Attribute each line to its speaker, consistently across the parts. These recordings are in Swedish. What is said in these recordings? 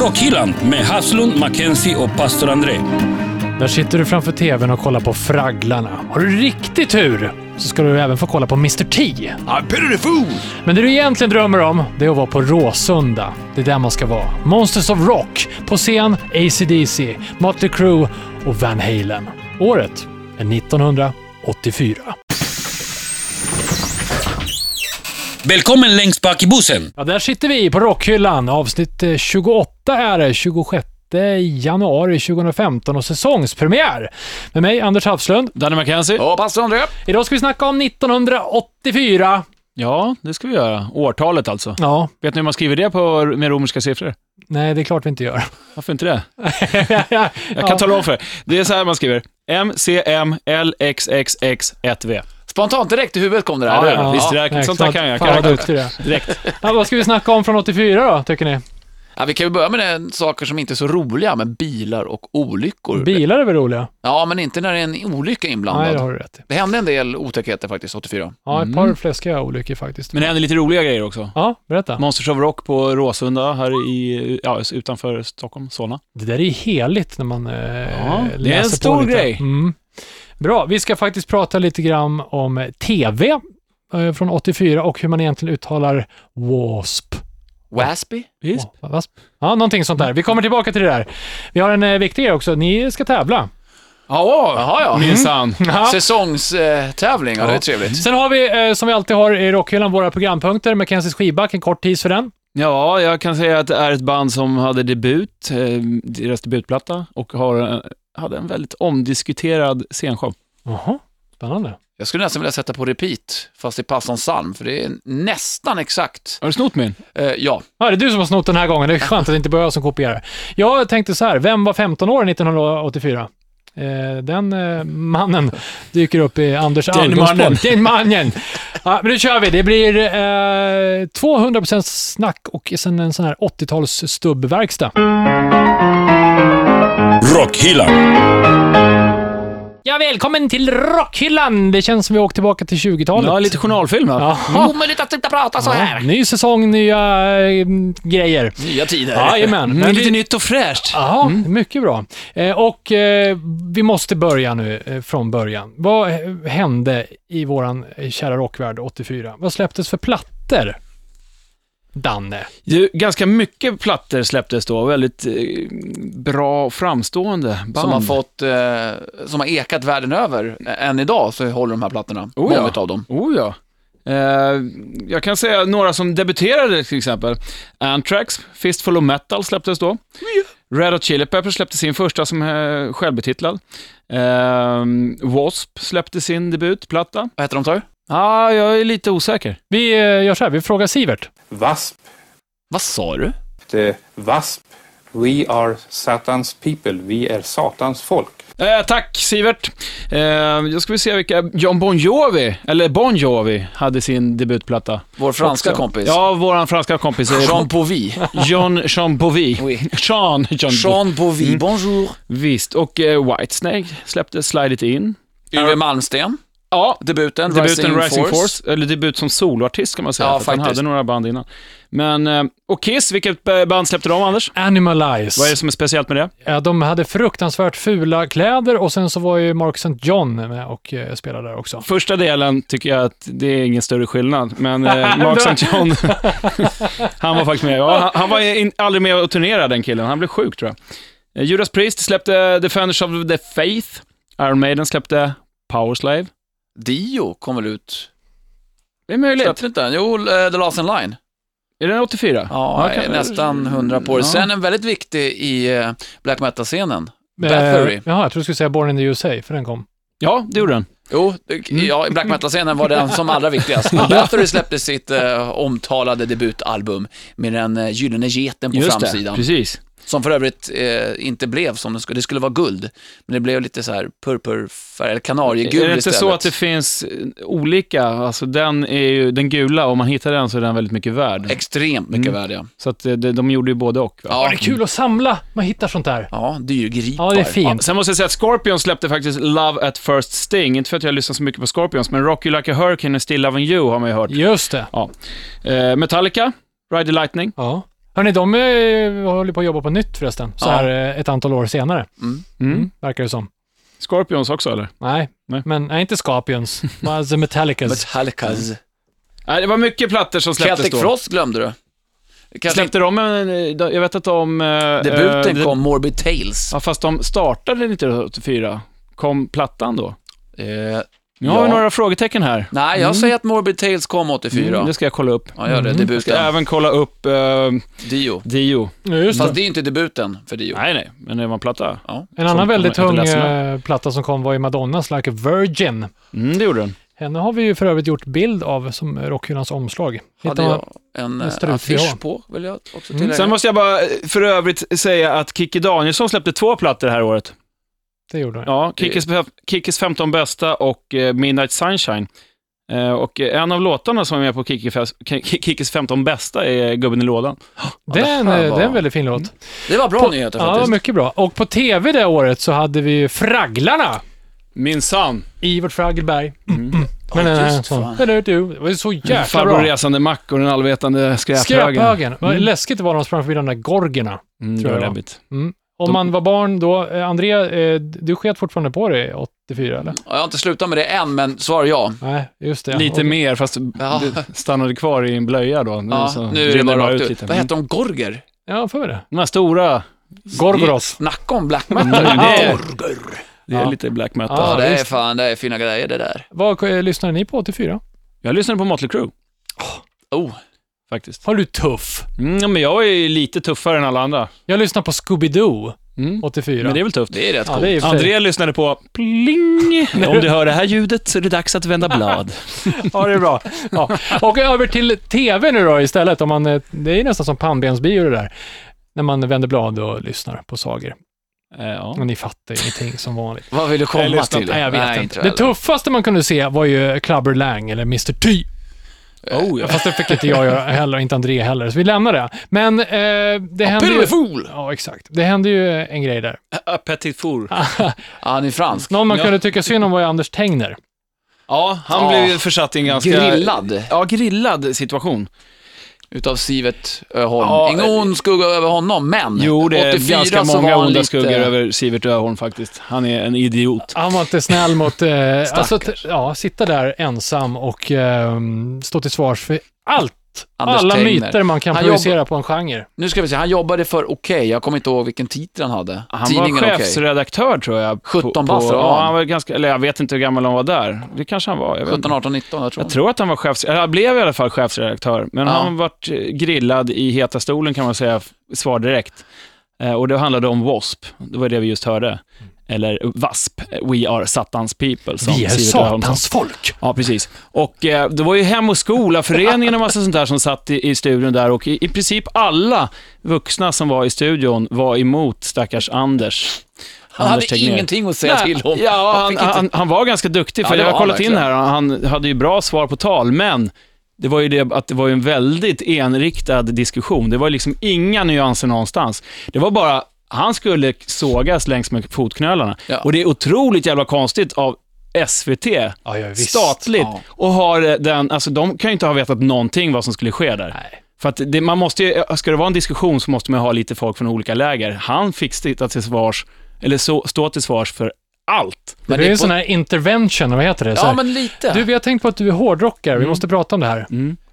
Speaker 1: Rockhyllan med Haslund, Mackenzie och pastor André.
Speaker 2: Där sitter du framför tvn och kollar på Fragglarna. Har du riktigt tur så ska du även få kolla på Mr T.
Speaker 3: I'm pitiful!
Speaker 2: Men det du egentligen drömmer om, det är att vara på Råsunda. Det är där man ska vara. Monsters of Rock. På scen AC/DC, Mötley Crüe och Van Halen. Året är 1984.
Speaker 1: Välkommen längst bak i bussen.
Speaker 2: Ja, där sitter vi på Rockhyllan. Avsnitt eh, 28 är det, 26 januari 2015 och säsongspremiär. Med mig, Anders Hafslund.
Speaker 4: Danny McKenzie?
Speaker 3: Ja, pastor André.
Speaker 2: Idag ska vi snacka om 1984.
Speaker 4: Ja, det ska vi göra. Årtalet alltså.
Speaker 2: Ja,
Speaker 4: Vet ni hur man skriver det på, med romerska siffror?
Speaker 2: nej det är klart vi inte gör.
Speaker 4: Varför inte det?
Speaker 2: Jag
Speaker 4: Jag kan tala om för er. Det är så här man skriver. MCMLXXX1V.
Speaker 3: Spontant direkt i huvudet kom det där.
Speaker 4: Ja,
Speaker 3: eller?
Speaker 4: ja. Visst, det där, sånt där kan jag. Kan
Speaker 2: Fan vad
Speaker 4: jag
Speaker 2: duktig du är.
Speaker 4: direkt.
Speaker 2: Ja, vad ska vi snacka om från 84 då, tycker ni?
Speaker 3: Ja, vi kan ju börja med den, saker som inte är så roliga, men bilar och olyckor.
Speaker 2: Bilar är väl roliga?
Speaker 3: Ja, men inte när det är en olycka inblandad.
Speaker 2: Nej, det
Speaker 3: det,
Speaker 2: har du rätt i.
Speaker 3: hände en del otäckheter faktiskt, 84.
Speaker 2: Ja, ett par fläskiga olyckor faktiskt.
Speaker 4: Mm. Men det händer lite roliga grejer också.
Speaker 2: Ja, berätta.
Speaker 4: Monsters of Rock på Råsunda här i, ja, utanför Stockholm, Solna.
Speaker 2: Det där är ju heligt när man eh,
Speaker 4: det är
Speaker 2: läser
Speaker 4: en
Speaker 2: på
Speaker 4: stor
Speaker 2: lite.
Speaker 4: grej.
Speaker 2: Mm. Bra, vi ska faktiskt prata lite grann om TV eh, från 84 och hur man egentligen uttalar WASP.
Speaker 3: Waspy?
Speaker 4: Visst?
Speaker 2: Wa- wasp? Ja, någonting sånt där. Vi kommer tillbaka till det där. Vi har en eh, viktig grej också. Ni ska tävla.
Speaker 4: Ja,
Speaker 3: Jaha, ja.
Speaker 4: minsann.
Speaker 2: Ja.
Speaker 3: Säsongstävling, ja, det är trevligt.
Speaker 2: Sen har vi, eh, som vi alltid har i rockhyllan, våra programpunkter. Mackenzies skivback, en kort tease för den.
Speaker 4: Ja, jag kan säga att det är ett band som hade debut, eh, deras debutplatta, och har, eh, hade en väldigt omdiskuterad scenshow.
Speaker 2: Jaha, spännande.
Speaker 3: Jag skulle nästan vilja sätta på repeat, fast i Passan psalm, för det är nästan exakt.
Speaker 4: Har du snott min?
Speaker 3: Eh, ja,
Speaker 2: Ja, det är du som har snott den här gången. Det är skönt att det inte bara är jag som kopierar. Jag tänkte så här, vem var 15 år 1984? Eh, den eh, mannen dyker upp i Anders
Speaker 4: Den
Speaker 2: Algårds
Speaker 4: mannen.
Speaker 2: podd. Den mannen! Ja, men nu kör vi. Det blir eh, 200% snack och sen en sån här 80-tals stubbverkstad.
Speaker 1: Rockhyllan.
Speaker 2: Ja, välkommen till Rockhyllan! Det känns som vi åkt tillbaka till 20-talet.
Speaker 4: Ja, lite journalfilm här.
Speaker 2: Ja.
Speaker 3: omöjligt att sluta prata så här.
Speaker 2: Ny säsong, nya eh, grejer.
Speaker 3: Nya tider.
Speaker 2: Jajamän.
Speaker 4: Mm,
Speaker 2: Men
Speaker 4: lite Mm.
Speaker 2: vi-
Speaker 4: nytt och fräscht.
Speaker 2: Ja, mycket bra. Eh, och eh, vi måste börja nu eh, från början. Vad eh, hände i våran eh, kära rockvärld 84? Vad släpptes för plattor? Danne.
Speaker 4: Du, ganska mycket plattor släpptes då, väldigt eh, bra framstående band.
Speaker 3: Som har fått, eh, som har ekat världen över. Eh, Än idag så håller de här plattorna,
Speaker 4: Oh, ja.
Speaker 3: många av dem.
Speaker 4: Oh ja. Eh, jag kan säga några som debuterade till exempel. Anthrax, Fistful of Metal släpptes då. Red Hot Chili Peppers släppte sin första som eh, självbetitlad. Eh, Wasp släppte sin debutplatta.
Speaker 3: Vad heter de, sa du?
Speaker 4: Ah, jag är lite osäker.
Speaker 2: Vi eh, gör så här, vi frågar Sivert.
Speaker 5: Wasp,
Speaker 3: Vad sa du?
Speaker 5: the Wasp, we are Satan's people, vi är Satans folk.
Speaker 4: Eh, tack Sivert. Eh, jag ska vi se vilka... John Bon Jovi, eller Bon Jovi, hade sin debutplatta.
Speaker 3: Vår franska
Speaker 4: Också.
Speaker 3: kompis.
Speaker 4: Ja, våran franska kompis. eh,
Speaker 3: Jean Bovy.
Speaker 4: John, Jean Bovi.
Speaker 3: Oui.
Speaker 4: Jean, John Bo-
Speaker 3: Jean Bovy,
Speaker 4: Mm.
Speaker 3: bonjour.
Speaker 4: Visst, och eh, Whitesnake släppte Slide It In.
Speaker 3: Yngve Malmsten,
Speaker 4: Ja,
Speaker 3: debuten,
Speaker 4: debuten Rising Force. eller debut som soloartist kan man säga,
Speaker 3: Ja,
Speaker 4: för att han
Speaker 3: faktiskt.
Speaker 4: hade några band innan. Men, eh, och Kiss, vilket eh, band släppte de, Anders?
Speaker 2: Animal Eyes.
Speaker 4: Vad är det som är speciellt med det?
Speaker 2: Ja, de hade fruktansvärt fula kläder och sen så var ju Mark St. John med och eh, spelade där också.
Speaker 4: Första delen tycker jag att det är ingen större skillnad, men eh, Mark St. John, han var faktiskt med. Ja, han, han var in, aldrig med och turnerade den killen, han blev sjuk tror jag. Eh, Judas Priest släppte Defenders of the Faith, Iron Maiden släppte Powerslave.
Speaker 3: Dio kom väl ut?
Speaker 4: Det är möjligt.
Speaker 3: Släppte inte den? Jo, eh, The Last In Line.
Speaker 4: Är den 84?
Speaker 3: Ja,
Speaker 4: kan-
Speaker 3: nästan 100 på det.
Speaker 4: Ja.
Speaker 3: Sen en väldigt viktig i eh, black metal-scenen. Bathory.
Speaker 2: Eh, jaha, jag tror du skulle säga Born in the USA, för den kom.
Speaker 4: Ja, det gjorde den.
Speaker 3: Jo, det-
Speaker 4: Mm.
Speaker 3: ja, i black metal-scenen var den som allra viktigast. Bathory släppte sitt eh, omtalade debutalbum med den eh, gyllene geten på framsidan.
Speaker 4: Precis.
Speaker 3: Som för övrigt eh, inte blev som den skulle. Det skulle vara guld, men det blev lite så här purpurfärg, eller kanariegul
Speaker 4: är det inte
Speaker 3: istället.
Speaker 4: så att det finns eh, olika, alltså den är ju, den gula, om man hittar den så är den väldigt mycket värd.
Speaker 3: Extremt mycket
Speaker 4: Mm.
Speaker 3: värde, ja.
Speaker 4: så att eh, de, de gjorde ju både och. Va?
Speaker 3: Ja,
Speaker 2: Det är kul att samla, man hittar sånt där.
Speaker 3: Ja, dyrgripar.
Speaker 2: Ja, det är
Speaker 4: Ja,
Speaker 2: fint.
Speaker 4: sen måste jag säga att Scorpions släppte faktiskt Love at first sting. Inte för att jag lyssnar så mycket på Scorpions, men Rock You Like a Hurricane och Still Loving You har man ju hört.
Speaker 2: Just det.
Speaker 4: Eh, Metallica, Ride the Lightning.
Speaker 2: Ja. Hörni, de eh, håller på att jobba på nytt förresten, så
Speaker 3: Ja.
Speaker 2: här eh, ett antal år senare,
Speaker 4: Mm.
Speaker 2: verkar det som.
Speaker 4: Scorpions också eller?
Speaker 2: Nej,
Speaker 4: Nej.
Speaker 2: men nej, inte Scorpions, bara The Metallicas.
Speaker 3: Metallicas.
Speaker 4: Nej, det var mycket plattor som Mm. släpptes
Speaker 3: Celtic
Speaker 4: då.
Speaker 3: Frost glömde du. Kanske
Speaker 4: Släppte de en, jag vet att de... eh,
Speaker 3: debuten
Speaker 4: eh,
Speaker 3: kom, Morbid Tales.
Speaker 4: Ja, fast de startade 1984. Kom plattan då?
Speaker 3: Eh,
Speaker 4: Nu har vi
Speaker 3: Ja.
Speaker 4: några frågetecken här.
Speaker 3: nej, jag säger att Morbid Tales kom 84.
Speaker 4: Mm, Äh, det ska jag kolla upp.
Speaker 3: Ja, gör det.
Speaker 4: Jag ska
Speaker 3: Debuten.
Speaker 4: även kolla upp eh,
Speaker 3: Dio.
Speaker 4: Dio.
Speaker 2: Ja, just
Speaker 3: Fast
Speaker 2: det.
Speaker 3: det är ju inte debuten för Dio.
Speaker 4: Nej, nej, men det var en platta.
Speaker 2: En annan
Speaker 4: som
Speaker 2: väldigt
Speaker 4: kommer
Speaker 2: tung
Speaker 4: inte läsa
Speaker 2: eh, platta som kom var ju Madonnas Like a Virgin.
Speaker 4: Mm, det gjorde den.
Speaker 2: Henne har vi ju för övrigt gjort bild av som rockhyllans omslag.
Speaker 3: Hade
Speaker 2: Hittar-
Speaker 3: jag en eh,
Speaker 2: strut, ja.
Speaker 3: affisch på, vill jag också tillägga.
Speaker 4: Mm. Sen måste jag bara eh, för övrigt säga att Kikki Danielsson släppte två plattor det här året.
Speaker 2: Det gjorde jag.
Speaker 4: Ja, Kickes, Kickes 15 bästa och eh, Midnight Sunshine. Eh, och eh, en av låtarna som är med på Kicki fest- Ki- Ki- Kickes 15 bästa är Gubben i lådan.
Speaker 2: det, är en,
Speaker 3: det här
Speaker 2: eh,
Speaker 3: var-
Speaker 2: det är en väldigt fin låt.
Speaker 3: Det var bra
Speaker 2: På-
Speaker 3: nyheter
Speaker 2: Ja,
Speaker 3: faktiskt.
Speaker 2: mycket bra. Och på tv det året så hade vi ju Fragglarna,
Speaker 4: Minsann. Ivor
Speaker 2: Fraggelberg.
Speaker 4: Mm.
Speaker 3: Ja,
Speaker 2: Men den här
Speaker 3: just
Speaker 2: sån-
Speaker 3: fan.
Speaker 2: Det var ju så jäkla
Speaker 4: Farbror
Speaker 2: bra.
Speaker 4: Resande Mack och den allvetande skräphögen.
Speaker 2: Skräphögen. Vad läskigt det var när de sprang förbi de där gorgerna.
Speaker 4: Mm,
Speaker 2: tror
Speaker 4: tror
Speaker 2: jag.
Speaker 4: jag.
Speaker 2: Om
Speaker 4: De-
Speaker 2: man var barn då, eh, Andrea, eh, du sket fortfarande på dig 84
Speaker 4: Mm.
Speaker 2: eller?
Speaker 3: Ja, Jag har inte slutat med det än, men svar ja.
Speaker 2: Nej, just det.
Speaker 4: Lite
Speaker 2: Och-
Speaker 4: mer, fast
Speaker 3: Ja.
Speaker 4: det stannade kvar i en blöja då. Nu,
Speaker 3: Ja,
Speaker 4: Mm, så
Speaker 3: nu är det
Speaker 4: rinner
Speaker 3: bara rakt
Speaker 4: ut
Speaker 3: ut.
Speaker 4: lite.
Speaker 3: Vad hette de? Gorger?
Speaker 2: Ja, för mig det.
Speaker 4: De här stora.
Speaker 2: Gorgoros.
Speaker 3: Snacka om black metal.
Speaker 4: Mm, det är-
Speaker 3: Gorger.
Speaker 4: Det är
Speaker 2: Ja.
Speaker 4: lite black metal.
Speaker 3: Ja,
Speaker 2: Ja,
Speaker 3: det är
Speaker 2: visst.
Speaker 3: fan, det är fina grejer det där.
Speaker 2: Vad eh, lyssnade ni på 84?
Speaker 4: Jag lyssnade på Motley Crue,
Speaker 3: Oh,
Speaker 4: faktiskt.
Speaker 2: Var du tuff?
Speaker 4: Mm, men jag är ju lite tuffare än alla andra.
Speaker 2: Jag lyssnade på Scooby-Doo
Speaker 4: Mm.
Speaker 2: 84.
Speaker 4: Men det är väl tufft?
Speaker 3: det är rätt
Speaker 2: ja,
Speaker 3: coolt.
Speaker 2: det är i och för sig-
Speaker 4: André lyssnade på pling. Om du hör det här ljudet så är det dags att vända blad.
Speaker 2: Ja, det är bra. Ja. Och över till tv nu då istället. Om man, eh, det är ju nästan som pannbensbio det där. När man vänder blad och lyssnar på sagor.
Speaker 4: Eh, ja.
Speaker 2: Och ni fattar ju ingenting som vanligt.
Speaker 3: Vad vill du komma
Speaker 4: Jag lyssnar
Speaker 3: till?
Speaker 2: Nej, jag vet
Speaker 3: inte
Speaker 2: inte.
Speaker 3: jag
Speaker 2: Det
Speaker 3: heller.
Speaker 2: tuffaste man kunde se var ju Clubber Lang eller Mr. T.
Speaker 4: Oh, ja.
Speaker 2: Fast det fick inte jag göra heller, och inte André heller, så vi lämnar det. Men eh, det hände
Speaker 3: Pille
Speaker 2: ju...
Speaker 3: fool!
Speaker 2: Ja, exakt. Det hände ju en grej där.
Speaker 4: Petit four.
Speaker 3: Ja, han är fransk.
Speaker 2: Någon man
Speaker 4: Ja.
Speaker 2: kunde tycka synd om var ju Anders Tegner.
Speaker 4: Ja, han
Speaker 3: Ja.
Speaker 4: blev ju försatt i en ganska...
Speaker 3: Grillad
Speaker 4: Ja, grillad situation.
Speaker 3: utav Sivert Öholm.
Speaker 4: Ja,
Speaker 3: Ingen ond skugga över honom, men
Speaker 4: Jo, det är
Speaker 3: 84
Speaker 4: ganska
Speaker 3: så var
Speaker 4: många
Speaker 3: han
Speaker 4: onda
Speaker 3: lite-
Speaker 4: skuggor över Sivert Öholm faktiskt. Han är en idiot.
Speaker 2: Han var inte snäll mot... Eh, alltså, t-
Speaker 3: Stackars.
Speaker 2: ja, sitta där ensam och eh, stå till svars för allt.
Speaker 3: Anders
Speaker 2: Alla
Speaker 3: Tegner.
Speaker 2: myter man kan
Speaker 3: Han
Speaker 2: projicera på en genre.
Speaker 3: Nu ska vi se, han jobbade för Okej, jag kommer inte ihåg vilken titel han hade.
Speaker 4: Han
Speaker 3: Tidningen
Speaker 4: var
Speaker 3: Okej.
Speaker 4: chefsredaktör tror jag. på-
Speaker 3: 17
Speaker 4: på-
Speaker 3: bast, va?
Speaker 4: Ja, han var ganska... Eller jag vet inte hur gammal han var där. Det kanske han var. Jag vet inte.
Speaker 3: 17, 18, 19, jag tror.
Speaker 4: Jag tror att han var chefs... Eller han blev i alla fall chefsredaktör. Men
Speaker 3: Ja.
Speaker 4: han vart eh, grillad i heta stolen kan man säga, f- svar direkt. Eh, och det handlade om W.A.S.P. Det var det vi just
Speaker 2: Mm.
Speaker 4: hörde. Eller W.A.S.P. We are Satans people. Som
Speaker 2: Vi är
Speaker 4: Sivert Öholm sa.
Speaker 2: satans folk.
Speaker 4: Ja, precis. Och eh, det var ju Hem och skola-föreningen och massa sånt där som satt i, i studion där och i, i princip alla vuxna som var i studion var emot stackars Anders.
Speaker 3: han hade
Speaker 4: Anders Tegnér.
Speaker 3: ingenting att säga till om.
Speaker 4: Ja, han,
Speaker 3: fick inte-
Speaker 4: han, han var ganska duktig,
Speaker 3: Ja,
Speaker 4: för
Speaker 3: det
Speaker 4: jag
Speaker 3: var
Speaker 4: har kollat
Speaker 3: han
Speaker 4: in här, han hade ju bra svar på tal, men det var ju det att det var ju en väldigt enriktad diskussion. Det var ju liksom inga nyanser någonstans. Det var bara, han skulle sågas längs med fotknölarna.
Speaker 3: Ja.
Speaker 4: Och det är otroligt jävla konstigt av SVT,
Speaker 2: Ja, ja, visst.
Speaker 4: statligt,
Speaker 3: Ja.
Speaker 4: och har eh, den, alltså de kan ju inte ha vetat någonting vad som skulle ske där.
Speaker 2: Nej.
Speaker 4: För att det, man måste ju, eh, ska det vara en diskussion så måste man ha lite folk från olika läger. Han fick sitta till svars, eller så, stå till svars för allt.
Speaker 2: Men det är en sån här intervention, vad heter det? Så
Speaker 3: Ja,
Speaker 2: här,
Speaker 3: men lite.
Speaker 2: Du, vi har tänkt på att du är hårdrockare,
Speaker 3: Mm.
Speaker 2: vi måste prata om det här.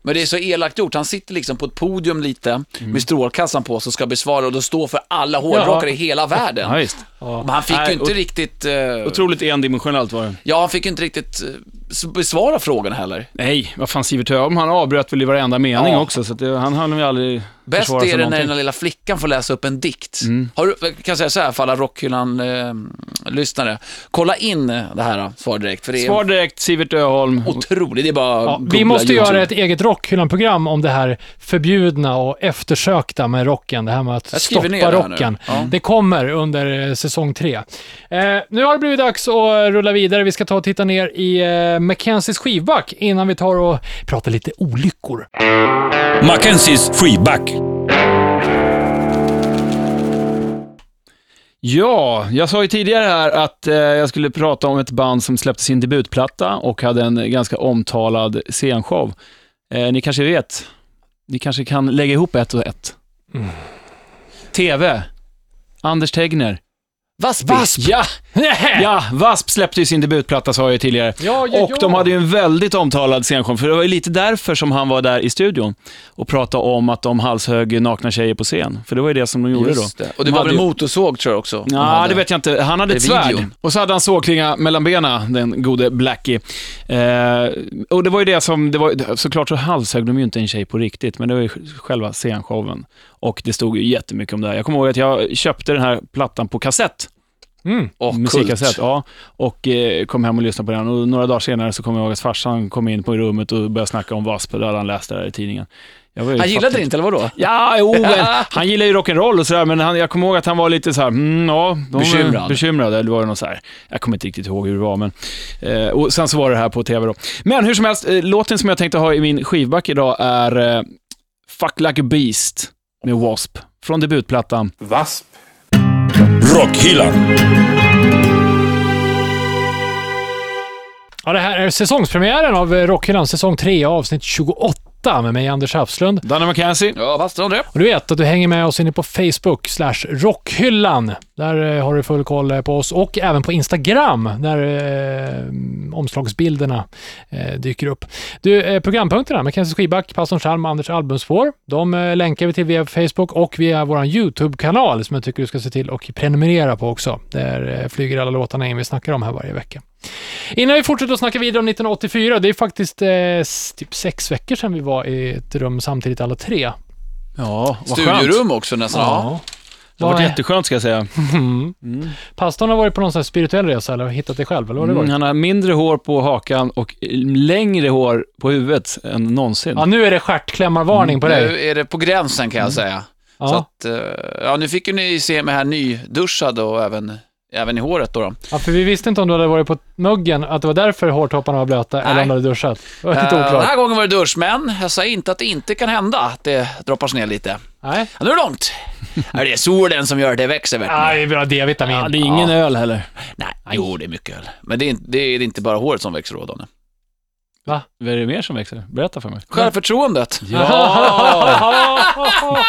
Speaker 3: Men det är så elakt gjort. Han sitter liksom på ett podium lite
Speaker 4: Mm.
Speaker 3: med strålkassan på sig ska besvara och då står för alla hårdrockare i hela
Speaker 4: Ja,
Speaker 3: världen.
Speaker 4: visst.
Speaker 3: Men han fick ju
Speaker 4: Nej,
Speaker 3: inte
Speaker 4: och-
Speaker 3: riktigt... eh,
Speaker 4: Otroligt endimensionellt var det.
Speaker 3: Ja, han fick ju inte riktigt eh, s- besvara frågan heller.
Speaker 4: Nej, vad fan Sivert Öholm, han avbröt väl i varenda mening
Speaker 3: Ja.
Speaker 4: också, så att det, han hann ju aldrig
Speaker 3: Bäst
Speaker 4: försvara sig
Speaker 3: är det när den
Speaker 4: någonting. Mm.
Speaker 3: där lilla flickan får läsa upp en dikt. Har du, jag kan säga så här för alla Rockhyllan-lyssnare. Kolla in eh, det här, eh, svar direkt, för det är
Speaker 4: Svar direkt, Sivert Öholm.
Speaker 3: otroligt. Det är bara
Speaker 2: Ja,
Speaker 3: ja,
Speaker 2: vi måste göra ett eget rockhyllan-program om det här förbjudna och eftersökta med rocken, det här med att
Speaker 3: Jag skriver ner
Speaker 2: stoppa
Speaker 3: det här nu.
Speaker 2: rocken.
Speaker 3: Ja.
Speaker 2: Det kommer under eh, säsong tre. Eh, nu har det blivit dags att rulla vidare. Vi ska ta och titta ner i eh, Mackenzies skivback innan vi tar och pratar lite olyckor.
Speaker 1: Mackenzies freeback.
Speaker 4: Ja, jag sa ju tidigare här att eh, jag skulle prata om ett band som släppte sin debutplatta och hade en ganska omtalad scenshow. Eh, ni kanske vet, ni kanske kan lägga ihop ett och ett.
Speaker 3: Mm.
Speaker 4: TV. Anders Tegner.
Speaker 3: Vaspi.
Speaker 4: Vasp! Ja,
Speaker 2: Nej.
Speaker 4: ja, Vasp släppte ju sin debutplatta sa jag ju tidigare.
Speaker 2: Ja, ja,
Speaker 4: Och
Speaker 2: ja.
Speaker 4: de hade ju en väldigt omtalad scenshow, för det var ju lite därför som han var där i studion och pratade om att de halshögg nakna tjejer på scen. För det var ju det som de gjorde
Speaker 3: Just
Speaker 4: då.
Speaker 3: det. Och det
Speaker 4: De
Speaker 3: var
Speaker 4: hade
Speaker 3: väl
Speaker 4: ju-
Speaker 3: motorsåg tror jag också?
Speaker 4: Ja, det vet jag inte. Han hade ett
Speaker 3: Det är
Speaker 4: svärd.
Speaker 3: videon.
Speaker 4: Och så hade han sågklinga mellan benen, den gode Blackie. Eh, och det var ju det som, det var, såklart så halshögg de ju inte en tjej på riktigt, men det var ju själva scenshowen. Och det stod ju jättemycket om det här. Jag kommer ihåg att jag köpte den här plattan på kassett
Speaker 3: jag.
Speaker 4: musikkassett. Ja, och eh, kom hem och lyssnade på den. Och några dagar senare så kom jag ihåg att farsan kom in på rummet och började snacka om Wasp. Då hade han läst det där i tidningen. Jag var ju
Speaker 3: Han gillade
Speaker 4: fattig.
Speaker 3: det inte, eller vadå?
Speaker 4: Ja, jo, men han gillar ju rock'n'roll och sådär, men han, jag kommer ihåg att han var lite såhär, mm, ja, de
Speaker 3: Bekymrad.
Speaker 4: bekymrad. Eller var det någon så här, jag kommer inte riktigt ihåg hur det var, men... Eh, och sen så var det här på tv då. Men hur som helst, eh, låten som jag tänkte ha i min skivback idag är eh, Fuck Like a Beast med W.A.S.P. Från debutplattan.
Speaker 5: Wasp,
Speaker 1: Rockhyllan.
Speaker 2: Ja, det här är säsongspremiären av eh, Rockhyllan, säsong 3, avsnitt 28 med mig, Anders Hafslund.
Speaker 4: Danny McKenzie.
Speaker 3: Ja, fast det var det.
Speaker 2: Och du vet att du hänger med oss inne på Facebook slash Rockhyllan. Där eh, har du full koll eh, på oss och även på Instagram där eh, omslagsbilderna eh, dyker upp. Du, eh, programpunkterna med Kenzie Skiback, Pastorn Chalm och Anders albumspår. De eh, länkar vi till via Facebook och via vår YouTube-kanal som jag tycker du ska se till och prenumerera på också. Där eh, flyger alla låtarna in vi snackar om här varje vecka. Innan vi fortsätter att snacka vidare om 1984, det är faktiskt eh, s- typ sex veckor sedan vi var i ett rum samtidigt alla tre.
Speaker 4: Ja, vad skönt.
Speaker 3: Studiorum också nästan. Ja.
Speaker 4: Det har
Speaker 2: Vad
Speaker 4: varit
Speaker 2: är-
Speaker 4: jätteskönt ska jag säga.
Speaker 2: Pastorn har varit på någon sån här spirituell resa eller har hittat det själv, eller vad har det
Speaker 4: Mm,
Speaker 2: varit?
Speaker 4: han har mindre hår på hakan och eh, längre hår på huvudet än någonsin.
Speaker 2: Ja, nu är det stjärtklämmarvarning på dig. Mm.
Speaker 3: Nu är det på gränsen kan jag säga. Så
Speaker 2: Ja.
Speaker 3: att, eh, ja, nu fick ju ni se mig här nyduschad och även, även i håret då. då.
Speaker 2: ja, för vi visste inte om du hade varit på muggen, att det var därför hårtopparna var blöta, eller om du hade duschat. Det var lite
Speaker 3: Eh, den
Speaker 2: oklart.
Speaker 3: här gången var det dusch, men jag säger inte att det inte kan hända att det droppar ner lite.
Speaker 2: Nej.
Speaker 3: Ja, nu är det långt. Ja, det är solen som gör det växer. Vet ni.
Speaker 2: Nej, vi har D-vitamin.
Speaker 4: Ja, det är ingen öl heller.
Speaker 3: Nej, jo det är mycket öl. Men det är, inte- det är inte bara håret som växer då, Danne.
Speaker 4: Vad är det mer som växer? Berätta för mig.
Speaker 3: Självförtroendet.
Speaker 4: Ja!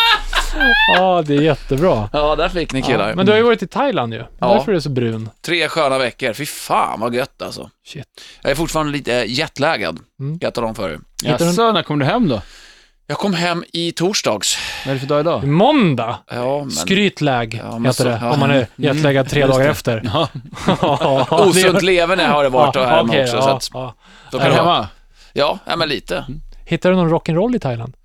Speaker 2: Ja, det är jättebra.
Speaker 3: Ja, där fick ni killar.
Speaker 2: Men du har ju varit i Thailand ju.
Speaker 3: Ja.
Speaker 2: Därför är du så brun.
Speaker 3: Tre sköna veckor. Fy fan vad gött alltså.
Speaker 2: Shit.
Speaker 3: Jag är fortfarande lite eh, jetlaggad,
Speaker 2: Mm.
Speaker 3: kan jag tala om för er.
Speaker 2: Hittar du-
Speaker 4: Jaså, när kom du hem då?
Speaker 3: Jag kom hem i torsdags.
Speaker 4: Vad är det för dag idag?
Speaker 2: Måndag!
Speaker 3: Ja, men...
Speaker 2: Skrytläg
Speaker 3: Ja, men
Speaker 2: heter
Speaker 3: så-
Speaker 2: det,
Speaker 3: ja. Mm.
Speaker 2: om man är jetlaggad tre dagar efter.
Speaker 4: Ja.
Speaker 2: Ja, det är-
Speaker 3: Osunt leverne har det varit och här
Speaker 2: okej,
Speaker 3: också.
Speaker 2: ja, Mm.
Speaker 3: så att,
Speaker 2: ja.
Speaker 3: då
Speaker 4: Är
Speaker 3: kan
Speaker 4: du
Speaker 3: det vara-
Speaker 4: hemma?
Speaker 3: ja, ja, men lite.
Speaker 2: Hittar du någon rock'n'roll i Thailand?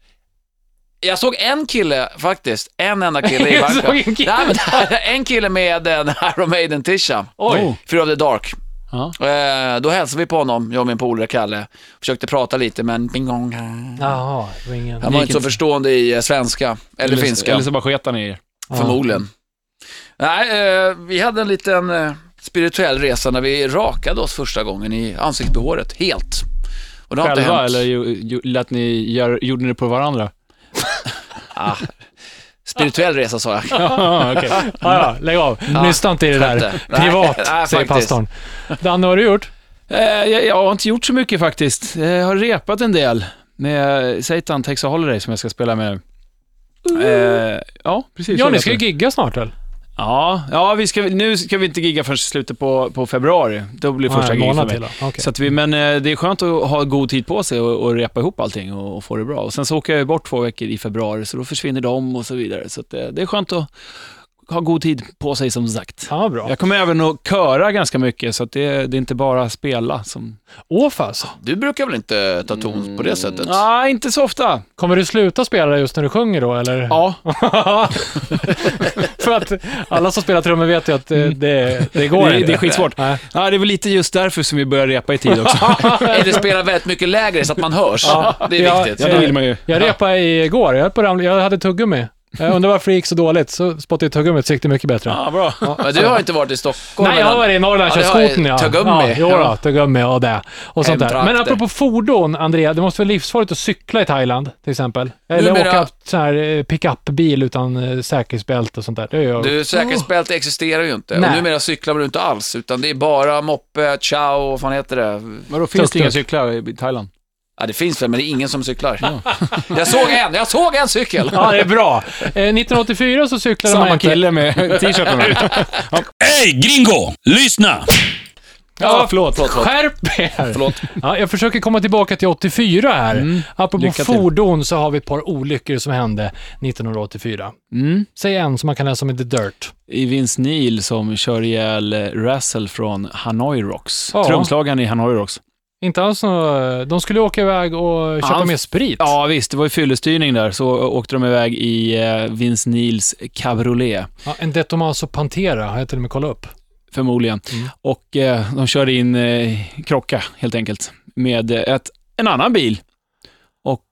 Speaker 3: Jag såg en kille faktiskt, en enda kille i
Speaker 2: Jag såg
Speaker 3: Bangkok.
Speaker 2: en kille.
Speaker 3: Nej, men, en kille med en Iron Maiden-tisha.
Speaker 2: Oj.
Speaker 3: Fear of the Dark.
Speaker 4: Ja.
Speaker 3: Eh, då hälsade vi på honom, jag och min polare Kalle. Försökte prata lite, men bing gong.
Speaker 2: Jaha, det var ingen...
Speaker 3: Han var inte så förstående i eh, svenska, eller, finska,
Speaker 4: Eller så bara sket han i er.
Speaker 3: förmodligen. Nej, eh, vi hade en liten eh, spirituell resa när vi rakade oss första gången i ansiktsbehåret, helt. Och det har inte
Speaker 4: Själva,
Speaker 3: hänt.
Speaker 4: eller ju, ju, lät ni, gör, gjorde ni det på varandra?
Speaker 3: Spirituell resa sa jag.
Speaker 4: Ja, okej.
Speaker 2: Ja, ja, lägg av. Lyssna inte i det
Speaker 3: skönt
Speaker 2: där.
Speaker 3: det. Nej,
Speaker 2: Privat,
Speaker 3: nej,
Speaker 2: säger
Speaker 3: faktiskt.
Speaker 2: pastorn. Danne, vad har du gjort?
Speaker 4: Eh, jag, jag har inte gjort så mycket faktiskt. Jag har repat en del med Satan Takes a Holiday som jag ska spela med. Eh, ja, precis.
Speaker 2: Ja, ni
Speaker 4: Jag vet
Speaker 2: ska ju
Speaker 4: det.
Speaker 2: gigga snart väl?
Speaker 4: Ja, ja vi ska, nu ska vi inte gigga förrän i slutet på, på februari. Då blir första
Speaker 2: Nej, en
Speaker 4: giget för
Speaker 2: månad
Speaker 4: mig.
Speaker 2: till då. Okej.
Speaker 4: Så att vi, men eh, det är skönt att ha god tid på sig och, och repa ihop allting och, och få det bra. Och sen så åker jag ju bort två veckor i februari, så då försvinner de och så vidare. Så att, eh, det är skönt att ha god tid på sig som sagt.
Speaker 2: Fan vad bra.
Speaker 4: Jag kommer även att köra ganska mycket, så att det, det är inte bara spela som...
Speaker 2: Åfas,
Speaker 3: Du brukar väl inte ta ton på det sättet?
Speaker 4: Nej, inte så ofta.
Speaker 2: kommer du sluta spela just när du sjunger då eller?
Speaker 4: Ja,
Speaker 2: För att alla som spelar trummor vet ju att eh, det, det går
Speaker 4: Mm. det,
Speaker 2: inte.
Speaker 4: det är skitsvårt.
Speaker 2: Nej.
Speaker 4: Ja, det är väl lite just därför som vi börjar repa i tid också.
Speaker 3: Eller spela väldigt mycket lägre så att man hörs. Det
Speaker 2: Ja,
Speaker 3: är viktigt.
Speaker 4: Ja, det vill man ju.
Speaker 2: Jag repade igår, jag, höll på att ramla, jag hade tuggummi. Jag undrar varför det gick så dåligt, så spottade jag tuggummit så gick det mycket bättre.
Speaker 4: Ja, bra.
Speaker 3: Men du har inte varit i Stockholm?
Speaker 2: Nej, jag har varit i Norrland och
Speaker 3: Ja,
Speaker 2: kört
Speaker 3: det har jag.
Speaker 2: skotern ja.
Speaker 3: Tuggummi.
Speaker 2: Ja, jo,
Speaker 3: Ja.
Speaker 2: då, tuggummi och det. Och sånt där.
Speaker 3: Hemtrakter.
Speaker 2: Men apropå fordon, Andrea, det måste vara livsfarligt att cykla i Thailand till exempel. Eller
Speaker 3: Numera-
Speaker 2: åka sån här eh, pickupbil utan eh, säkerhetsbälte och sånt där. Det gör jag.
Speaker 3: Du, säkerhetsbälte existerar ju inte.
Speaker 2: Nej.
Speaker 3: Och numera cyklar man inte alls, utan det är bara moppe, chow, vad fan heter det?
Speaker 4: Vadå, finns det
Speaker 2: Tuk-tuk.
Speaker 4: inga cyklar i Thailand?
Speaker 3: Ja, det finns väl, men det är ingen som cyklar. jag såg en, jag såg en cykel!
Speaker 2: Ja, det är bra. Eh, 1984 så cyklade man
Speaker 4: Samma
Speaker 2: inte.
Speaker 4: kille med t-shirten.
Speaker 1: Ey gringo! Lyssna!
Speaker 2: Ja,
Speaker 4: förlåt.
Speaker 2: Skärp er!
Speaker 3: Förlåt. Mm.
Speaker 2: Ja, jag försöker komma tillbaka till 84 här. Apropå
Speaker 4: Lycka till.
Speaker 2: fordon så har vi ett par olyckor som hände 1984.
Speaker 4: Mm.
Speaker 2: Säg en som man kan läsa om i The Dirt.
Speaker 4: I Vince Neil som kör ihjäl eh, Russell från Hanoi Rocks.
Speaker 2: Ja.
Speaker 4: Trumslagaren i Hanoi Rocks.
Speaker 2: Inte alls nå- De skulle åka iväg och köpa
Speaker 4: Han-
Speaker 2: mer sprit.
Speaker 4: Ja, visst. Det var ju fyllestyrning där, så åkte de iväg i eh, Vince Neils cabriolet,
Speaker 2: Ja, en De Tomaso Pantera har jag till och med kollat upp.
Speaker 4: förmodligen.
Speaker 2: Mm.
Speaker 4: Och eh, de körde in eh, krocka, helt enkelt, med eh, ett, en annan bil. Och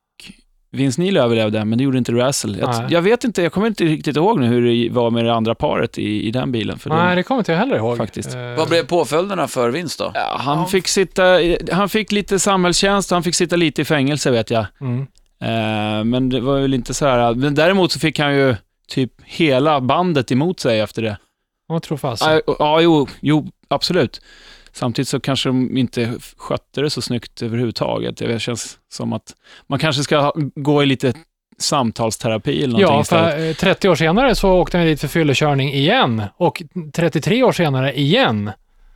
Speaker 4: Vince Neil överlevde, men det gjorde inte Russell.
Speaker 2: Nej.
Speaker 4: Jag, jag vet inte, jag kommer inte riktigt ihåg nu hur det var med det andra paret i, i den bilen. För de-
Speaker 2: Nej, det kommer inte jag heller ihåg.
Speaker 4: Faktiskt.
Speaker 2: Eh,
Speaker 3: Vad blev påföljderna för vinst då?
Speaker 4: Ja, han, fick sitta, han fick lite samhällstjänst och han fick sitta lite i fängelse vet jag.
Speaker 2: Mm.
Speaker 4: Eh, men det var väl inte så här. Men däremot så fick han ju typ hela bandet emot sig efter det.
Speaker 2: Jag tror fast.
Speaker 4: Ja, ja jo, jo, absolut. Samtidigt så kanske de inte skötte det så snyggt överhuvudtaget. Det känns som att man kanske ska ha- gå i lite samtalsterapi eller någonting
Speaker 2: Ja,
Speaker 4: istället.
Speaker 2: för eh, 30 år senare så åkte han dit för fyllekörning igen och 33 år senare igen.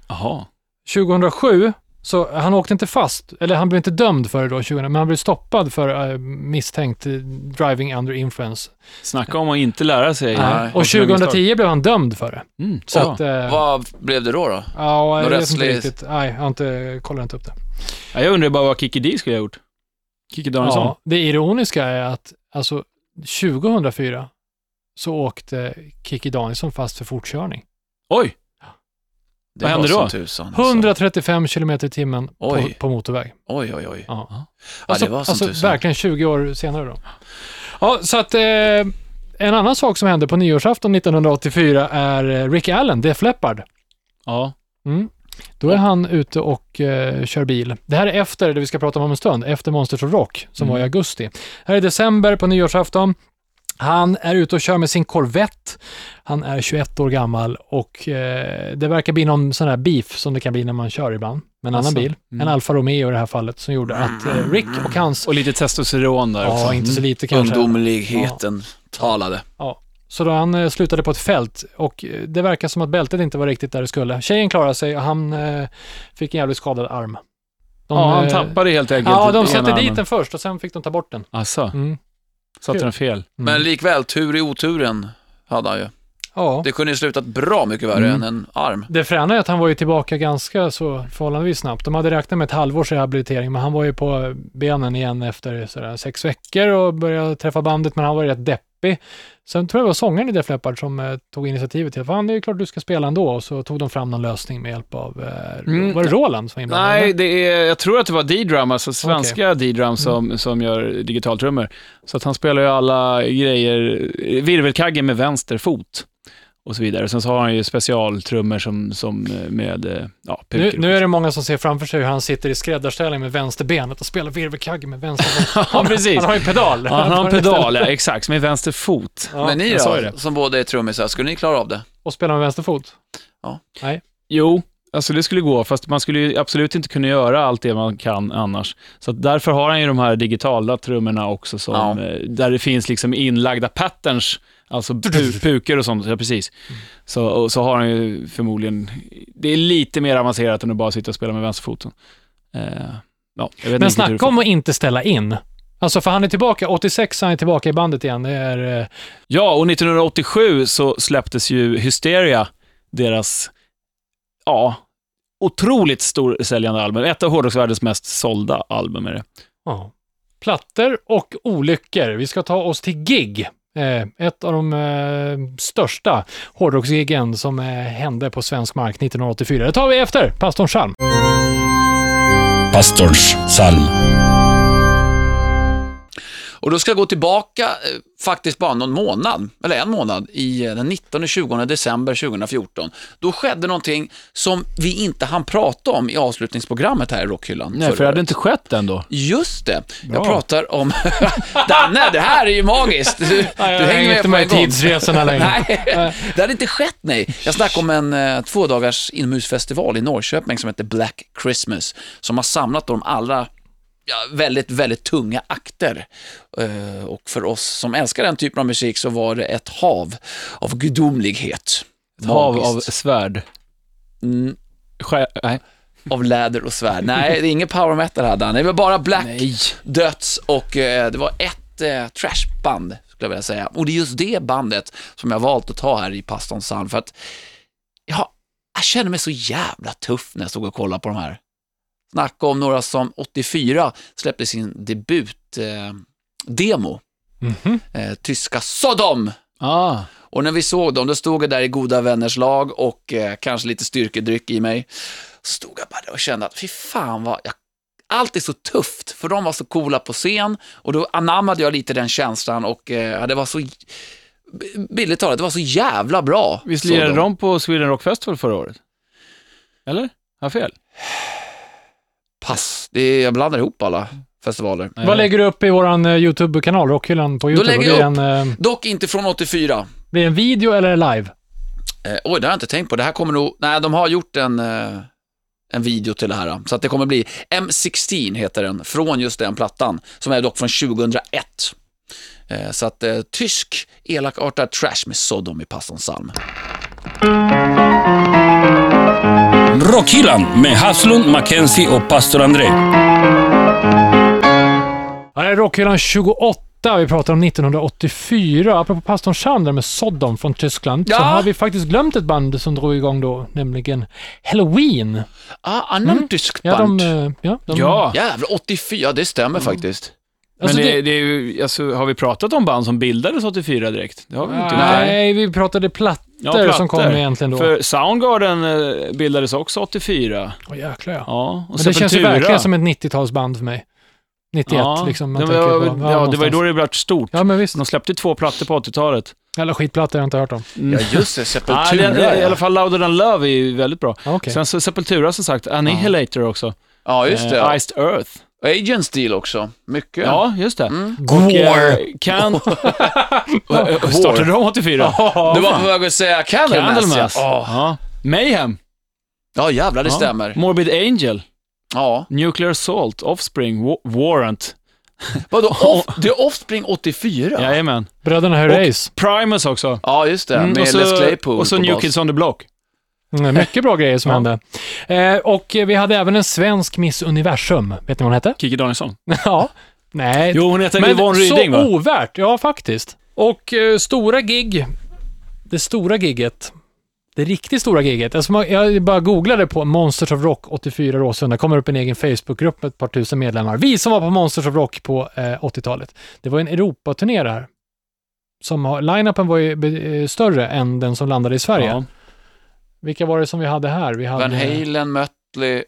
Speaker 4: Jaha.
Speaker 2: 2007, så han åkte inte fast, eller han blev inte dömd för det då, 2000, men han blev stoppad för eh, misstänkt eh, driving under influence.
Speaker 4: Snacka om att inte lära sig.
Speaker 3: Nej.
Speaker 2: och 2010 blev han dömd för det.
Speaker 4: Mm,
Speaker 2: Så
Speaker 4: ja.
Speaker 2: att, eh,
Speaker 3: Vad blev det då? då?
Speaker 2: ja, jag
Speaker 3: Någon
Speaker 2: vet inte
Speaker 3: rättslig-
Speaker 2: riktigt. Nej, jag har inte, kollat inte upp det.
Speaker 4: Ja, jag undrar bara vad Kikki Dee skulle ha gjort. Kikki Danielsson.
Speaker 2: Ja, det ironiska är att alltså, 2004 så åkte Kikki Danielsson fast för fortkörning.
Speaker 4: Oj!
Speaker 3: Det
Speaker 4: Vad
Speaker 3: var
Speaker 4: hände då?
Speaker 3: som Tusan, alltså.
Speaker 2: 135 km i timmen på,
Speaker 3: Oj.
Speaker 2: på motorväg.
Speaker 3: Oj, oj, oj.
Speaker 2: Ja.
Speaker 3: Ja,
Speaker 2: Alltså,
Speaker 3: det var som
Speaker 2: alltså
Speaker 3: tusan.
Speaker 2: verkligen 20 år senare då. Ja, så att eh, en annan sak som hände på nyårsafton 1984 är eh, Rick Allen, Def Leppard.
Speaker 4: Ja.
Speaker 2: Mm. Då är han ute och eh, kör bil. Det här är efter det vi ska prata om om en stund, efter Monsters of Rock som
Speaker 4: Mm.
Speaker 2: var i augusti. Här är december på nyårsafton. Han är ute och kör med sin Corvette. Han är 21 år gammal och eh, det verkar bli någon sån här beef som det kan bli när man kör ibland. Med en annan
Speaker 4: Alltså,
Speaker 2: bil, en Alfa Romeo i det här fallet, som gjorde att eh, Rick och hans
Speaker 4: Och lite testosteron där också.
Speaker 2: Ja, inte så
Speaker 4: Mm.
Speaker 2: lite kanske.
Speaker 3: Ungdomligheten talade.
Speaker 2: Ja. Så då han eh, slutade på ett fält och eh, det verkar som att bältet inte var riktigt där det skulle. Tjejen klarade sig och han eh, fick en jävligt skadad arm. De,
Speaker 4: Ja, han
Speaker 2: eh,
Speaker 4: tappade helt enkelt
Speaker 2: Ja, de
Speaker 4: ena
Speaker 2: satte dit
Speaker 4: armen.
Speaker 2: den först och sen fick de ta bort den.
Speaker 4: Asså,
Speaker 2: Mm.
Speaker 4: satte den fel.
Speaker 3: Men likväl, tur i oturen hade han ju.
Speaker 2: Ja.
Speaker 3: Det kunde ju slutat bra mycket värre
Speaker 4: Mm.
Speaker 3: än en arm.
Speaker 2: Det fräna är att han var ju tillbaka ganska så förhållandevis snabbt. De hade räknat med ett halvårs rehabilitering, men han var ju på benen igen efter sådär sex veckor och började träffa bandet, men han var ju rätt deppig. Sen tror jag det var sångaren i Def Leppard som eh, tog initiativet till att "Fan, det är klart du ska spela ändå, och så tog de fram någon lösning med hjälp av, eh,
Speaker 4: Mm.
Speaker 2: var det Roland som var inblandad?
Speaker 4: Nej, det är, jag tror att det var D-Drum, alltså svenska
Speaker 2: Mm.
Speaker 4: D-Drum som, som gör digitaltrummor. Så att han spelar ju alla grejer, virvelkagge med vänster fot och så vidare. Sen så har han ju specialtrummor som, som med eh, ja,
Speaker 2: Nu,
Speaker 4: pukor.
Speaker 2: nu är det många som ser framför sig hur han sitter i skräddarställning med vänsterbenet och spelar virvelkagge med vänster.
Speaker 4: ja, precis.
Speaker 2: Han har ju pedal.
Speaker 4: Ja, han har en pedal, ja, exakt, med vänster fot.
Speaker 2: Ja,
Speaker 3: men ni
Speaker 4: jag sa ju
Speaker 3: då,
Speaker 4: det.
Speaker 3: som båda är trummisar, skulle ni klara av det?
Speaker 2: Och spelar med vänster fot.
Speaker 4: Jo, alltså det skulle gå, fast man skulle ju absolut inte kunna göra allt det man kan annars. Så att därför har han ju de här digitala trummorna också, som,
Speaker 3: Ja.
Speaker 4: eh, där det finns liksom inlagda patterns, alltså pu pukor och sånt. Ja, precis. Så, och så har han ju förmodligen, det är lite mer avancerat än att bara sitta och spela med vänsterfoten. Eh, ja, jag vet
Speaker 2: Men
Speaker 4: inte hur det
Speaker 2: snacka om att inte ställa in. Alltså för han är tillbaka, 86 är han är tillbaka i bandet igen. Det är, eh,
Speaker 4: Ja, och 1987 så släpptes ju Hysteria, deras, ja, otroligt storsäljande album. Ett av hårdrocksvärldens mest sålda album är det.
Speaker 2: ja. Plattor och olyckor. Vi ska ta oss till gig. Eh, ett av de eh, största hårdrocksgiggen som eh, hände på svensk mark 1984. Det tar vi efter Pastorn Chalm.
Speaker 1: Pastorns psalm.
Speaker 3: Och då ska jag gå tillbaka eh, faktiskt bara någon månad, eller en månad, i eh, den 19-20 december 2014. Då skedde någonting som vi inte hann prata om i avslutningsprogrammet här i Rockhyllan.
Speaker 4: Nej,
Speaker 3: förra
Speaker 4: för det hade
Speaker 3: året.
Speaker 4: inte skett än då.
Speaker 3: Just det, jag pratar om... Danne, det här är ju magiskt! Du, du
Speaker 2: jag hänger inte med i
Speaker 3: en gång.
Speaker 2: tidsresorna längre.
Speaker 3: Nej, det hade inte skett, nej. Jag snackade om en eh, två dagars inomhusfestival i Norrköping som heter Black Christmas, som har samlat de allra ja, väldigt, väldigt tunga akter. Eh, Och för oss som älskar den typen av musik så var det ett hav av gudomlighet. Ett
Speaker 4: Hav av svärd.
Speaker 3: Mm,
Speaker 4: Skär, nej.
Speaker 3: av läder och svärd. Nej, det är ingen power metal hade han. Det var bara black, döds och eh, det var ett eh, trashband, skulle jag vilja säga. Och det är just det bandet som jag valt att ta här i Pastorns psalm för att jag, jag kände mig så jävla tuff när jag stod och kollade på de här. Snacka om några som 84 släppte sin debutdemo, eh, demo.
Speaker 2: Mhm.
Speaker 3: eh, tyska Sodom.
Speaker 4: Ah.
Speaker 3: Och när vi såg dem, då stod jag där i goda vänners lag och eh, kanske lite styrkedryck i mig. Stod jag bara där och kände att fy fan vad, jag, allt är så tufft, för de var så coola på scen och då anammade jag lite den känslan och eh, ja, det var så, billigt talat, det var så jävla bra.
Speaker 4: Visst
Speaker 3: Så
Speaker 4: lirade de på Sweden Rock Festival förra året? Eller? Har jag fel?
Speaker 3: Pass, det är, jag blandar ihop alla festivaler.
Speaker 2: Vad lägger du upp i vår YouTube-kanal, Rockhyllan på YouTube?
Speaker 3: lägger
Speaker 2: det
Speaker 3: jag
Speaker 2: blir en, eh,
Speaker 3: Dock inte från 84.
Speaker 2: blir det en video eller live?
Speaker 3: Eh, oj, det har jag inte tänkt på. Det här kommer nog... Nej, de har gjort en, eh, en video till det här. Så att det kommer bli... M16 heter den, från just den plattan. Som är dock från 2001. Eh, så att eh, tysk elakartad trash med Sodom i Pastorns psalm.
Speaker 1: Rockhyllan med Haslund, Mackenzie och pastor André.
Speaker 2: Ja, det är Rockhyllan 28. Vi pratar om 1984. Apropå pastorn Sander med Sodom från Tyskland, så
Speaker 3: Ja.
Speaker 2: har vi faktiskt glömt ett band som drog igång då, nämligen Halloween.
Speaker 3: Ah, annan
Speaker 4: Mm.
Speaker 3: tysk
Speaker 2: Ja,
Speaker 3: band.
Speaker 2: de, eh, ja, de,
Speaker 4: Ja.
Speaker 3: Jävlar, 84, det
Speaker 4: Mm.
Speaker 3: stämmer faktiskt.
Speaker 2: Alltså,
Speaker 4: men det,
Speaker 2: det-
Speaker 4: det, är ju, alltså, har vi pratat om band som bildades 84 direkt? Det har vi inte gjort.
Speaker 2: Nej, vi pratade plattor,
Speaker 4: Ja, plattor.
Speaker 2: som kom egentligen då.
Speaker 4: För Soundgarden eh, bildades också 84.
Speaker 2: Åh, jäklar ja.
Speaker 4: Ja, och
Speaker 2: Men det känns ju
Speaker 4: Sepultura.
Speaker 2: verkligen som ett 90-talsband för mig. 91 liksom. Man
Speaker 4: det, var,
Speaker 2: tänker på,
Speaker 4: ja, det var ju
Speaker 2: någonstans.
Speaker 4: då det blev stort.
Speaker 2: Ja, men visst.
Speaker 4: De släppte två plattor på 80-talet.
Speaker 2: Alla skitplattor har jag inte hört om.
Speaker 3: Ja, just det.
Speaker 4: Ah,
Speaker 3: Sepultura,
Speaker 4: det, I alla
Speaker 3: ja.
Speaker 4: fall Louder Than Love är ju väldigt bra.
Speaker 2: Ja, okej.
Speaker 4: Sen så Sepultura som sagt, Annihilator också.
Speaker 3: Ja, just
Speaker 4: Eh,
Speaker 3: det.
Speaker 4: Iced Earth.
Speaker 3: Agents deal också. Mycket.
Speaker 4: Ja, just det.
Speaker 3: Mm.
Speaker 4: Och, eh,
Speaker 2: Gore!
Speaker 4: Can... Startade de 84?
Speaker 3: Du var på väg att säga Candlemass.
Speaker 4: Candlemass.
Speaker 3: Ja, oh.
Speaker 4: Ja. Mayhem.
Speaker 3: ja jävlar, det
Speaker 4: Ja.
Speaker 3: stämmer.
Speaker 4: Morbid Angel.
Speaker 3: Ja.
Speaker 4: Nuclear Assault. Offspring. Wa- Warrant.
Speaker 3: Vadå, off, det är Offspring 84? Ja,
Speaker 4: Jajamän.
Speaker 2: Bröderna Herreys.
Speaker 4: Primus också.
Speaker 3: just det.
Speaker 4: Mm,
Speaker 3: med
Speaker 4: och så,
Speaker 3: Les Claypool
Speaker 4: och så
Speaker 3: på
Speaker 4: New
Speaker 3: bas.
Speaker 4: Kids on the Block.
Speaker 2: Mm, Mycket bra grejer som hände. Eh, och eh, vi hade även en svensk Miss Universum. Vet ni vad hon hette?
Speaker 4: Kikki Danielsson.
Speaker 2: ja. Nej.
Speaker 4: Jo, hon heter Yvonne Ryding
Speaker 2: så
Speaker 4: va?
Speaker 2: ovärt. Ja, faktiskt. Och eh, stora gig. Det stora gigget. Det riktigt stora gigget. Alltså, man- jag bara googlade på Monsters of Rock 84 Råsunda. kommer upp en egen Facebookgrupp med ett par tusen medlemmar. Vi som var på Monsters of Rock på eh, 80-talet. Det var en Europaturné det här. Som har, line-upen var ju be- eh, större än den som landade i Sverige.
Speaker 4: Ja.
Speaker 2: Vilka var det som vi hade här? Vi hade,
Speaker 3: Van Halen, Mötley.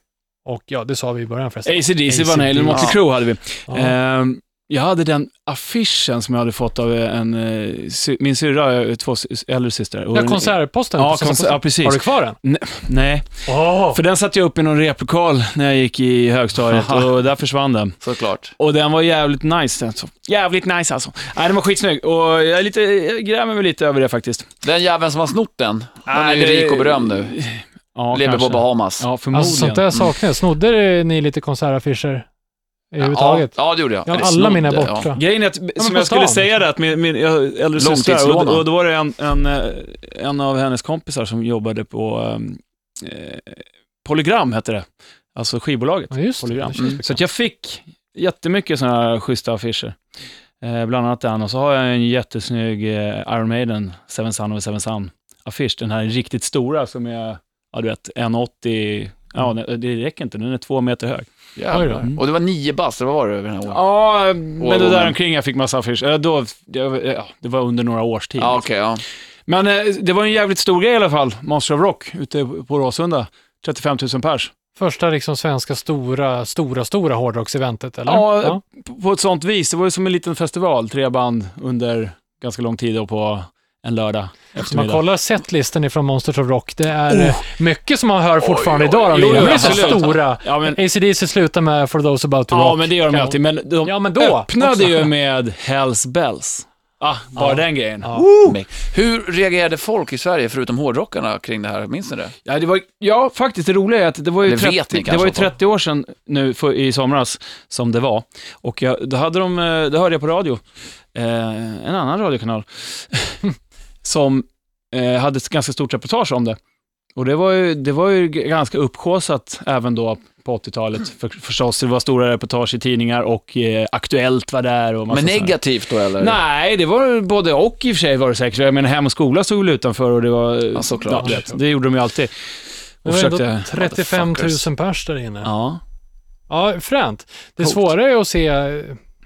Speaker 2: Och ja, det sa vi i början förresten.
Speaker 4: ACDC, Van Halen,
Speaker 2: AC/DC.
Speaker 4: Motley Crue hade vi.
Speaker 2: Ja.
Speaker 4: Ehm, jag hade den affischen som jag hade fått av en, eh, sy- min syrra, jag har två sy- äldre systrar. Och
Speaker 2: Ja,
Speaker 4: den-
Speaker 2: konsertposten.
Speaker 4: Ja,
Speaker 2: Prinsessan
Speaker 4: konser- ja, precis.
Speaker 2: Har du kvar den?
Speaker 4: Nej,
Speaker 2: Åh!
Speaker 4: för den satte jag upp i någon replokal när jag gick i högstadiet
Speaker 3: Aha.
Speaker 4: och där försvann den.
Speaker 3: Såklart.
Speaker 4: Och den var jävligt nice alltså. Jävligt nice alltså. Nej, den var skitsnygg och jag, är lite, jag grämer mig lite över det faktiskt.
Speaker 3: Den jäveln som har snott den, han är
Speaker 4: Nej,
Speaker 3: ju
Speaker 4: Ah, det-
Speaker 3: rik och berömd nu.
Speaker 4: Ja,
Speaker 3: Lever
Speaker 4: kanske.
Speaker 3: på Bahamas.
Speaker 4: Ja, förmodligen.
Speaker 2: Alltså sånt där saknar jag. Snodde ni lite konsertaffischer överhuvudtaget?
Speaker 3: Ja, ja, det gjorde jag.
Speaker 2: Ja,
Speaker 3: Eller
Speaker 2: alla
Speaker 3: snodde,
Speaker 2: mina är
Speaker 3: ja.
Speaker 2: borta.
Speaker 4: Grejen är att, som
Speaker 2: på
Speaker 4: jag skulle
Speaker 2: stan.
Speaker 4: säga det, att min, min jag har äldre syster,
Speaker 3: Långtidslådan.
Speaker 4: och, och då var det en, en, eh, en av hennes kompisar som jobbade på ehm, eh, Polygram, hette det. Alltså skivbolaget.
Speaker 2: Ja, just det.
Speaker 4: Hologram.
Speaker 2: det. känns
Speaker 3: Mm.
Speaker 4: Så att jag fick jättemycket sådana här schyssta affischer. Eh, bland annat den, och så har jag en jättesnygg eh, Iron Maiden, Seven Sun of a Seven Sun-affisch. Den här riktigt stora som är, ja du vet, 1,80, ja det- det räcker inte, den är två meter hög.
Speaker 2: Oj då.
Speaker 3: Jävlar.
Speaker 2: Mm.
Speaker 3: Och det var nio bass, eller vad var det över den här åren?
Speaker 4: Ja, men
Speaker 3: Åh,
Speaker 4: det
Speaker 3: men-
Speaker 4: där omkring jag fick massa affischer. Eh, Då, jag, ja, det var under några års tid.
Speaker 3: Ja, okej, ja.
Speaker 4: Men eh, det var en jävligt stor grej i alla fall, Monster of Rock, ute på Råsunda. 35 000 pers.
Speaker 2: Första liksom svenska stora, stora, stora hårdrockseventet, eller?
Speaker 4: Ja, P- På ett sånt vis, det var ju som en liten festival, tre band under ganska lång tid och på en lördag
Speaker 2: Om man
Speaker 4: eftermiddag.
Speaker 2: kollar setlisten ifrån Monsters of Rock, det är eh, mycket som man hör fortfarande
Speaker 3: Oj, oj,
Speaker 2: idag.
Speaker 4: jo,
Speaker 2: De
Speaker 4: jo,
Speaker 2: är så
Speaker 4: absolut.
Speaker 2: stora.
Speaker 4: Ja, men,
Speaker 2: ACDC slutar med For those about to
Speaker 4: ja,
Speaker 2: rock.
Speaker 4: men det gör de
Speaker 2: Kan-
Speaker 4: alltid, men de
Speaker 2: Ja, men då
Speaker 4: öppnade
Speaker 2: också.
Speaker 4: ju med Hells Bells. Ah, bara den grejen. Ja.
Speaker 3: Make- Hur reagerade folk i Sverige, förutom hårdrockarna, kring det här? Minns ni det?
Speaker 4: det var, ja, faktiskt det roliga är att det var ju,
Speaker 3: Det vet ni
Speaker 4: 30, det
Speaker 3: kanske
Speaker 4: var ju
Speaker 3: i alla fall.
Speaker 4: 30 år sedan nu för, i somras som det var. Och jag, då, hade de, eh, då hörde jag på radio, eh, en annan radiokanal, som eh, hade ett ganska stort reportage om det. Och det var ju, det var ju g- ganska upphaussat även då på 80-talet för, förstås. Det var stora reportage i tidningar och eh, Aktuellt var där och massa
Speaker 3: Men
Speaker 4: sådana här-
Speaker 3: negativt då, eller?
Speaker 4: Nej, det var både och i och för sig var det säkert. Jag menar, Hem och Skola stod väl utanför och det var...
Speaker 3: Ja, såklart.
Speaker 4: du vet, det gjorde de ju alltid.
Speaker 2: Det
Speaker 4: Och
Speaker 2: var ändå
Speaker 4: försökte...
Speaker 2: 35
Speaker 3: Motherfuckers.
Speaker 2: 000 pers där inne.
Speaker 4: Ja.
Speaker 2: Ja, fränt. Det svåra är att se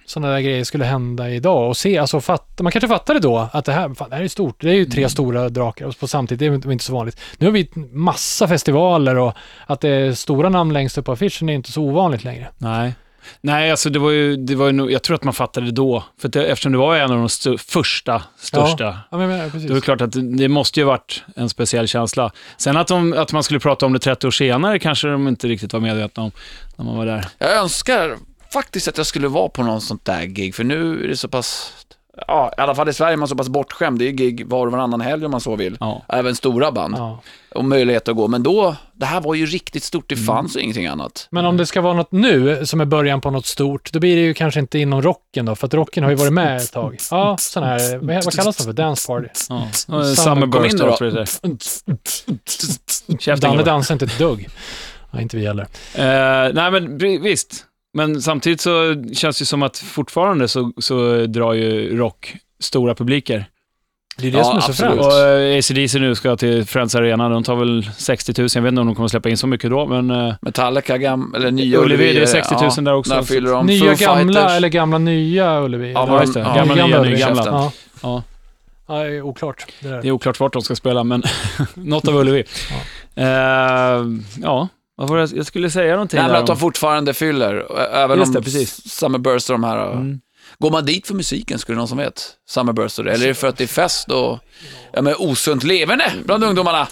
Speaker 2: sådana där grejer skulle hända idag och se, alltså fatta, man kanske fattade då att det här, fan, det här är stort, det är ju tre stora drakar och på samtidigt, det är inte- inte så vanligt. Nu har vi massa festivaler och att det är stora namn längst upp på affischen är inte så ovanligt längre.
Speaker 4: Nej. Nej, alltså det var ju, det var ju nog, jag tror att man fattade det då. För att det, eftersom det var en av de stu, första, största.
Speaker 2: Ja, ja men, men, precis.
Speaker 4: Det är klart att det- det måste ju varit en speciell känsla. Sen att, de, att man skulle prata om det 30 år senare kanske de inte riktigt var medvetna om när man var där.
Speaker 3: Jag önskar faktiskt att jag skulle vara på någon sånt där gig, för nu är det så pass... Ja, i alla fall i Sverige är man så pass bortskämd. Det är gig var och varannan helg om man så vill.
Speaker 4: Ja.
Speaker 3: Även stora band.
Speaker 2: Ja.
Speaker 3: Och möjlighet att gå. Men då, det här var ju riktigt stort.
Speaker 4: Mm.
Speaker 3: Det fanns ju ingenting annat.
Speaker 2: men om det ska vara något nu som är början på något stort, då blir det ju kanske inte inom rocken då, för att rocken har ju varit med ett tag. Ja, sån här, vad vad kallas det för? Dance party.
Speaker 4: Ja.
Speaker 3: Kom in
Speaker 4: Summerburst
Speaker 3: då.
Speaker 4: och så vidare. Käften,
Speaker 2: Danne
Speaker 4: grabbar.
Speaker 2: dansar inte ett dugg. Ja, inte vi heller.
Speaker 4: Eh, nej, men vi- visst. Men samtidigt så känns det ju som att fortfarande så, så drar ju rock stora publiker.
Speaker 2: Det är det
Speaker 3: Ja,
Speaker 2: som är så
Speaker 3: absolut.
Speaker 2: fränt.
Speaker 4: Och eh, AC/DC nu ska till Friends Arena, de tar väl 60 000, jag vet inte om de kommer släppa in så mycket då, men... eh,
Speaker 3: Metallica, gam, eller nya
Speaker 4: Ullevi, det är 60 000 där också.
Speaker 3: När fyller de?
Speaker 2: Nya
Speaker 3: Foo
Speaker 2: gamla
Speaker 3: Fighters.
Speaker 2: eller gamla nya Ullevi?
Speaker 3: Ja,
Speaker 2: Eller-
Speaker 3: vad-
Speaker 4: ja, just det.
Speaker 3: ja.
Speaker 4: Gamla, nya,
Speaker 2: Ullevi.
Speaker 4: nya, gamla.
Speaker 2: Ja.
Speaker 4: Ja.
Speaker 2: ja, det är oklart. Det där.
Speaker 4: Det är oklart vart de ska spela, men något av Ullevi. Eh, ja, vad var det jag skulle säga någonting
Speaker 3: Nej, men
Speaker 4: där
Speaker 3: att de
Speaker 4: om-
Speaker 3: fortfarande fyller. Ä- Även
Speaker 4: Just
Speaker 3: om
Speaker 4: det, precis.
Speaker 3: Summerburst och de här...
Speaker 4: Mm.
Speaker 3: Går man dit för musiken, skulle någon som vet? Summerburst och det. Eller är det för att det är fest och ja, men osunt leverne bland ungdomarna?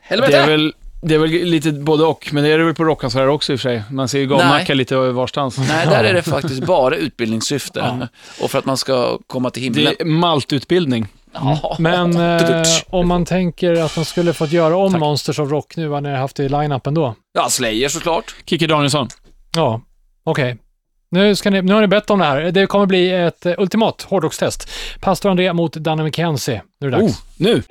Speaker 3: Helvete!
Speaker 4: Det är, väl, det är väl lite både och, men det är det väl på rockkonserter också i och för sig. Man ser ju gamnacka
Speaker 3: Nej.
Speaker 4: lite varstans.
Speaker 3: Nej, där är det faktiskt bara utbildningssyfte. Och för att man ska komma till himlen.
Speaker 4: Det är maltutbildning.
Speaker 3: Ja.
Speaker 2: Men eh,
Speaker 3: Tutsch.
Speaker 2: om man tänker att de skulle fått göra om Monsters of Rock nu, vad ni har haft i line-upen då?
Speaker 3: Ja, Slayer såklart.
Speaker 4: Kikki Danielsson.
Speaker 2: Ja, okej. Nu, ska ni, nu har ni bett om det här. Det kommer bli ett eh, ultimat hårdrockstest. Pastor André mot Danne McKenzie. Nu är det dags.
Speaker 4: Oh, nu!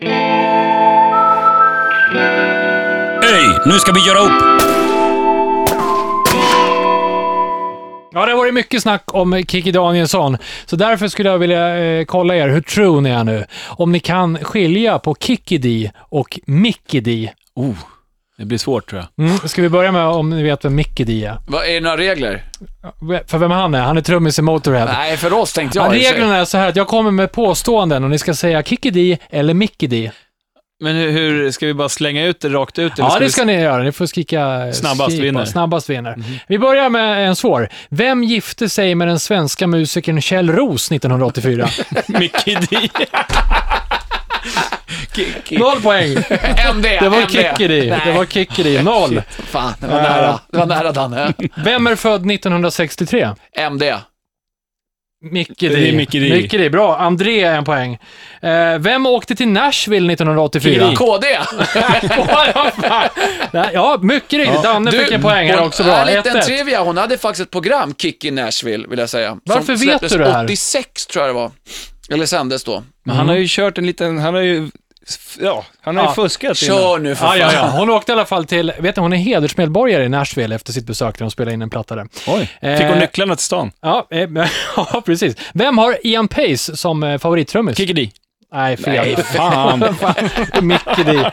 Speaker 1: Hej, nu ska vi göra upp!
Speaker 2: Ja, det har varit mycket snack om Kiki Danielsson, så därför skulle jag vilja eh, kolla er. Hur true ni är nu? Om ni kan skilja på Kiki D och Mickey D.
Speaker 4: Oh, det blir svårt tror jag.
Speaker 2: Mm. Ska vi börja med om ni vet vem Mickey D är?
Speaker 3: Vad är det några regler?
Speaker 2: För vem han är? Han är trummis i Motorhead.
Speaker 3: Nej, för oss tänkte jag.
Speaker 2: Ja,
Speaker 3: i och för sig.
Speaker 2: reglerna är så här att jag kommer med påståenden och ni ska säga Kiki D eller Mickey D.
Speaker 4: Men hur, hur, ska vi bara slänga ut det rakt ut? eller
Speaker 2: Ja, det
Speaker 4: vi-
Speaker 2: ska ni göra. Ni får skrika...
Speaker 4: Snabbast
Speaker 2: skrika.
Speaker 4: vinner.
Speaker 2: Snabbast vinner. Vi börjar med en svår. Vem gifte sig med den svenska musikern Kjell Roos 1984?
Speaker 4: Mickey D.
Speaker 2: Noll poäng!
Speaker 3: MD,
Speaker 2: Det var
Speaker 3: MD.
Speaker 2: Kikkeri.
Speaker 3: Nej,
Speaker 2: Det var Kikkeri. Noll.
Speaker 3: fan. Det var nära. Det var nära, Danne.
Speaker 2: Vem är född 1963?
Speaker 3: MD.
Speaker 2: Micke
Speaker 4: Det
Speaker 2: Di.
Speaker 4: är Micke Di.
Speaker 2: Micke Di. Bra. André är en poäng. Eh, vem åkte till Nashville 1984?
Speaker 3: KD.
Speaker 2: Nej, ja, mycket riktigt. Danne fick en poäng här också. Bra.
Speaker 3: En liten
Speaker 2: 1-1.
Speaker 3: trivia. Hon hade faktiskt ett program, Kick in Nashville, vill jag säga.
Speaker 2: Varför
Speaker 3: som
Speaker 2: vet
Speaker 3: släpptes
Speaker 2: du det här?
Speaker 3: 86 tror jag det var. Eller sändes då.
Speaker 4: Men han har ju kört en liten, han har ju, ja, han har ju
Speaker 2: Ja.
Speaker 4: fuskat innan.
Speaker 3: Kör nu för
Speaker 2: Ja,
Speaker 3: fan.
Speaker 2: ja, ja. Hon åkte i alla fall till, vet ni, hon är hedersmedborgare i Nashville efter sitt besök där hon spelade in en platta där.
Speaker 4: Oj, fick
Speaker 2: Eh,
Speaker 4: hon nycklarna till stan?
Speaker 2: Ja, eh, ja precis. Vem har Ian Pace som eh, favorittrummis?
Speaker 4: Mickey D.
Speaker 2: Nej, fel.
Speaker 4: Nej, fan.
Speaker 2: Micke Di.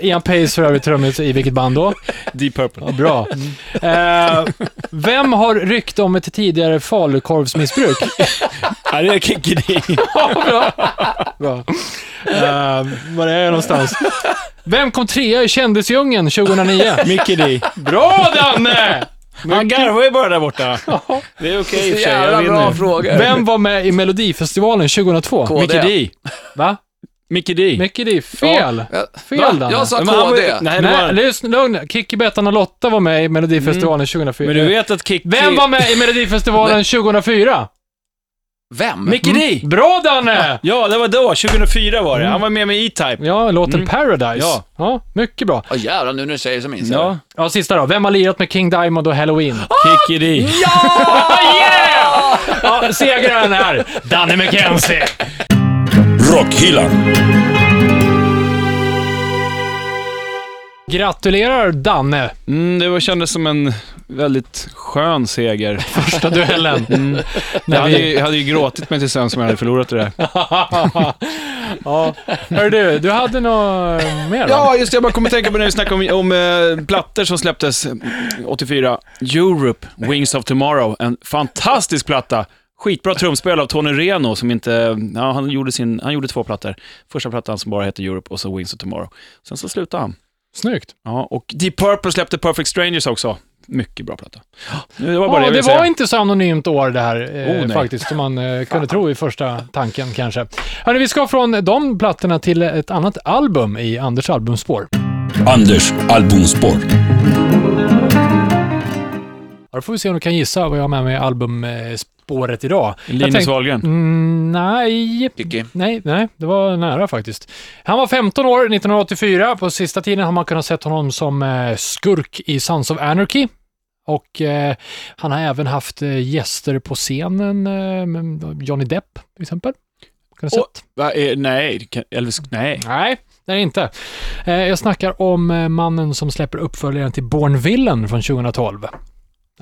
Speaker 2: Ian Pace för övrigt trummis i vilket band då?
Speaker 4: Deep Purple.
Speaker 2: Bra. Eh, vem har rykt om ett tidigare falukorvsmissbruk?
Speaker 4: Ja, det är Mickey D.
Speaker 2: Bra. Eh,
Speaker 4: Ehm,
Speaker 2: var är jag någonstans? Vem kom trea i Kändisdjungeln 2009?
Speaker 4: Mickey D.
Speaker 2: Bra Danne!
Speaker 4: Han garvar ju bara där borta. Det är okej i och för sig, jag
Speaker 3: Jävla bra
Speaker 4: vinner.
Speaker 3: fråga.
Speaker 2: Vem var med i Melodifestivalen 2002?
Speaker 3: KD.
Speaker 4: Mickey D.
Speaker 2: Va?
Speaker 4: Mickey D.
Speaker 2: Micke Di. Fel!
Speaker 3: Ja. Va?
Speaker 2: Fel Danne.
Speaker 3: Jag sa
Speaker 4: Men han var ju-
Speaker 3: 2D.
Speaker 4: Nej, det var
Speaker 2: Nej,
Speaker 4: han.
Speaker 2: lyssna, lugn. Kikki, Bettan och Lotta var med i
Speaker 3: Mm.
Speaker 2: Melodifestivalen 2004.
Speaker 4: Men du vet att Kikki...
Speaker 2: Vem var med i Melodifestivalen 2004?
Speaker 3: Vem?
Speaker 4: Mm.
Speaker 2: Mickey D! Bra Danne!
Speaker 4: Ja, det var då. 2004 var det. Han var med med E-Type.
Speaker 2: Ja, låten Paradise.
Speaker 4: Mm. Ja.
Speaker 2: ja, mycket bra.
Speaker 3: Ja, jävlar, nu när du säger det så minns jag
Speaker 4: Ja.
Speaker 3: det.
Speaker 2: Ja, sista då. Vem har lirat med King Diamond och Halloween?
Speaker 4: Ah! Kikki D.
Speaker 2: Ja, segraren är Danne McKenzie.
Speaker 1: Rockhyllan.
Speaker 2: Gratulerar Danne,
Speaker 4: Mm, det var, kändes som en väldigt skön seger.
Speaker 2: första duellen.
Speaker 4: Jag
Speaker 2: När
Speaker 4: hade, ju,
Speaker 2: vi...
Speaker 4: jag hade ju gråtit mig till sömns om jag hade förlorat det där.
Speaker 2: ja. Hör du, du hade något mer va?
Speaker 4: Ja, just det. Jag bara kommer att tänka på när vi snackade om, om eh, plattor som släpptes eh, 84. Europe, Wings of Tomorrow. En fantastisk platta. Skitbra trumspel av Tony Reno som inte... Ja, han, gjorde sin, han gjorde två plattor. Första plattan som bara hette Europe och så Wings of Tomorrow. Sen så slutade han.
Speaker 2: Snyggt.
Speaker 4: Ja, och Deep Purple släppte Perfect Strangers också. Mycket bra platta. Nu, Det var bara
Speaker 2: Ja,
Speaker 4: det jag
Speaker 2: det
Speaker 4: ville säga.
Speaker 2: var inte så anonymt år det här eh,
Speaker 4: Oh, nej.
Speaker 2: faktiskt, som man eh, kunde tro i första tanken kanske. Hörrni, vi ska från de plattorna till ett annat album i Anders albumspår.
Speaker 1: Anders albumspår.
Speaker 2: Här får vi se om du kan gissa vad jag har med mig i albumspåret idag. Jag
Speaker 4: Linus
Speaker 2: tänkte-
Speaker 4: Wahlgren.
Speaker 2: Mm, nej.
Speaker 3: Mickey.
Speaker 2: Nej, nej, det var nära faktiskt. Han var 15 år 1984. På sista tiden har man kunnat sett honom som eh, skurk i Sons of Anarchy. Och eh, han har även haft eh, gäster på scenen, eh, med Johnny Depp till exempel. Kunnat
Speaker 4: Och-
Speaker 2: sett?
Speaker 4: Va, eh, nej, det kan- Elvis... Nej.
Speaker 2: Nej, det är det inte. Eh, jag snackar om eh, mannen som släpper uppföljaren till Born Villain från 2012.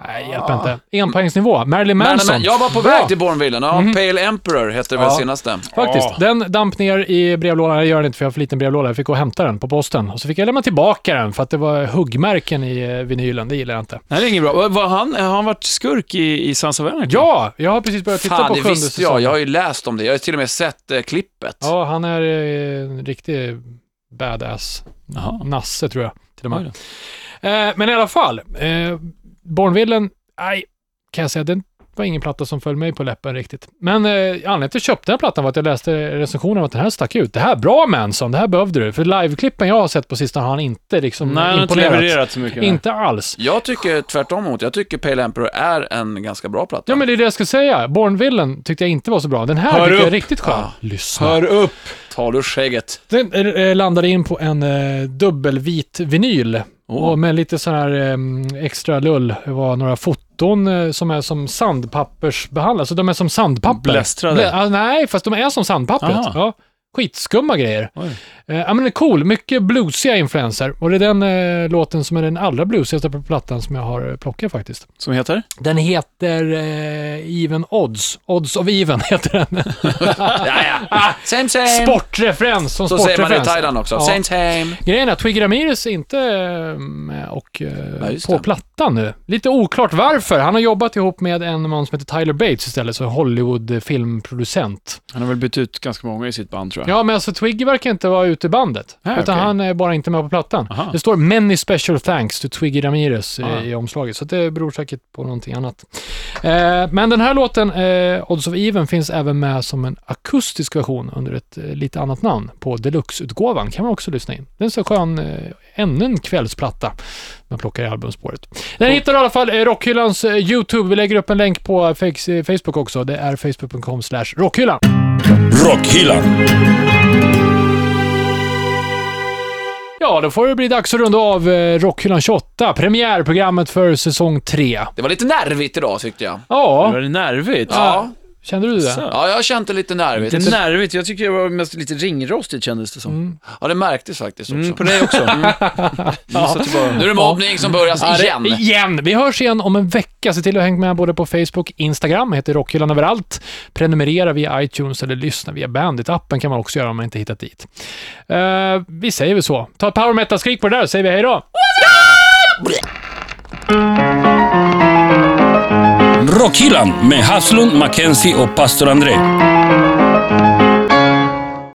Speaker 2: Nej, hjälper inte. Enpoängsnivå. Marilyn
Speaker 3: Ah. Men,
Speaker 2: Manson.
Speaker 3: men, jag var på
Speaker 2: Bra. Mhm.
Speaker 3: väg till Bourneville. Ja, Pale Emperor hette det väl
Speaker 2: Ja.
Speaker 3: senaste.
Speaker 2: Faktiskt. Den damp ner i brevlådan. Jag gör det inte för jag har för liten brevlåda. Jag fick gå och hämta den på posten. Och så fick jag lämna tillbaka den för att det var huggmärken i eh, vinylen. Det gillar jag
Speaker 3: Mm.
Speaker 2: inte.
Speaker 4: Nej, det är inget bra. Var- Var han, har han varit skurk i, i Sons of Anarchy?
Speaker 2: Ja, jag har precis börjat titta
Speaker 3: Fan,
Speaker 2: på
Speaker 3: det
Speaker 2: sjunde
Speaker 3: visste jag.
Speaker 2: säsongen.
Speaker 3: Jag har ju läst om det. Jag har till och med sett eh, klippet.
Speaker 2: Ja, han är eh, en riktig badass.
Speaker 4: Jaha.
Speaker 2: Nasse tror jag till och med.
Speaker 4: Oj
Speaker 2: Eh, men i alla fall, eh, Bornvillen, nej, kan jag säga, den var ingen platta som föll mig på läppen riktigt. Men eh, anledningen till att jag köpte den här plattan var att jag läste recensionen om att den här stack ut. Det här, bra Manson, det här behövde du. För liveklippen jag har sett på sistone har han inte liksom
Speaker 4: Nej, han har inte
Speaker 2: imponerat.
Speaker 4: levererat så mycket.
Speaker 2: Inte alls.
Speaker 3: Jag tycker tvärtom emot. Jag tycker Pale Emperor är en ganska bra platta.
Speaker 2: Ja, men det är det jag ska säga. Bornvillen tyckte jag inte var så bra. Den här
Speaker 4: Hör
Speaker 2: tyckte jag är
Speaker 4: upp. Ah,
Speaker 2: riktigt skön.
Speaker 3: Ja.
Speaker 2: Lyssna.
Speaker 4: Hör upp!
Speaker 3: Tar du skägget?
Speaker 2: Den eh, landade in på en eh, dubbelvit vinyl. Och med lite sån här eh, extra lull. Det var några foton eh, som är som sandpappersbehandlade. Så de är som sandpapper.
Speaker 4: Blästrade.
Speaker 2: Blä- ah, nej, fast de är som sandpappret.
Speaker 4: Aha.
Speaker 2: Ja. Skitskumma grejer.
Speaker 4: Oj.
Speaker 2: Eh, ja, men det är cool. Mycket bluesiga influenser. Och det är den eh, låten som är den allra bluesigaste på plattan som jag har eh, plockat faktiskt.
Speaker 4: Som heter?
Speaker 2: Den heter eh, Even Odds. Odds of Even heter den.
Speaker 3: Ja, ja. Same same.
Speaker 2: Sportreferens som
Speaker 3: Ehm. Så säger
Speaker 2: sportreferens.
Speaker 3: man i Thailand också.
Speaker 2: Ja.
Speaker 3: Same same.
Speaker 2: Grejen är att Twiggy Ramirez är inte eh, med och, eh,
Speaker 3: just
Speaker 2: på
Speaker 3: det.
Speaker 2: plattan nu. Lite oklart varför. Han har jobbat ihop med en man som heter Tyler Bates istället, så Hollywood-filmproducent.
Speaker 4: Han har väl bytt ut ganska många i sitt band tror jag.
Speaker 2: Ja, men alltså Twiggy verkar inte vara ute i bandet,
Speaker 4: Nej,
Speaker 2: utan
Speaker 4: okej.
Speaker 2: han är bara inte med på plattan.
Speaker 4: Aha.
Speaker 2: Det står “Many special thanks to Twiggy Ramirez” i-
Speaker 4: Ah.
Speaker 2: i omslaget, så att det beror säkert på någonting annat. Eh, men den här låten, eh, Odds of Even, finns även med som en akustisk version under ett eh, lite annat namn på deluxe-utgåvan. kan man också lyssna in. Den är så skön, eh, ännu en kvällsplatta man plockar i albumspåret. Den hittar du i alla fall i Rockhyllans eh, YouTube. Vi lägger upp en länk på Fakes- eh, Facebook också. Det är facebook.com slash rockhyllan.
Speaker 1: Rockhyllan.
Speaker 2: Ja, då får det bli dags att runda av eh, Rockhyllan 28, premiärprogrammet för säsong 3.
Speaker 3: Det var lite nervigt idag tyckte jag.
Speaker 4: Det
Speaker 2: Ja,
Speaker 4: var nervigt.
Speaker 3: Ja,
Speaker 2: kände du det?
Speaker 3: ja jag har känt det lite nervigt.
Speaker 4: Lite nervigt. Jag tycker det var mest lite ringrostigt kändes det som.
Speaker 2: Mm.
Speaker 3: Ja, det märktes faktiskt också.
Speaker 4: på dig också. Så att det bara...
Speaker 3: Nu är det mobbning som börjar
Speaker 2: Ja, det-
Speaker 3: igen.
Speaker 2: igen! Vi hörs igen om en vecka. Se till att hänga med både på Facebook Instagram. heter Rockhyllan överallt. Prenumerera via iTunes eller lyssna via Bandit-appen kan man också göra om man inte hittat dit. Eh, vi säger väl så. Ta ett power metal-skrik på det där så säger vi hej då!
Speaker 1: Rockhyllan med Haslund, Mackenzie och pastor André.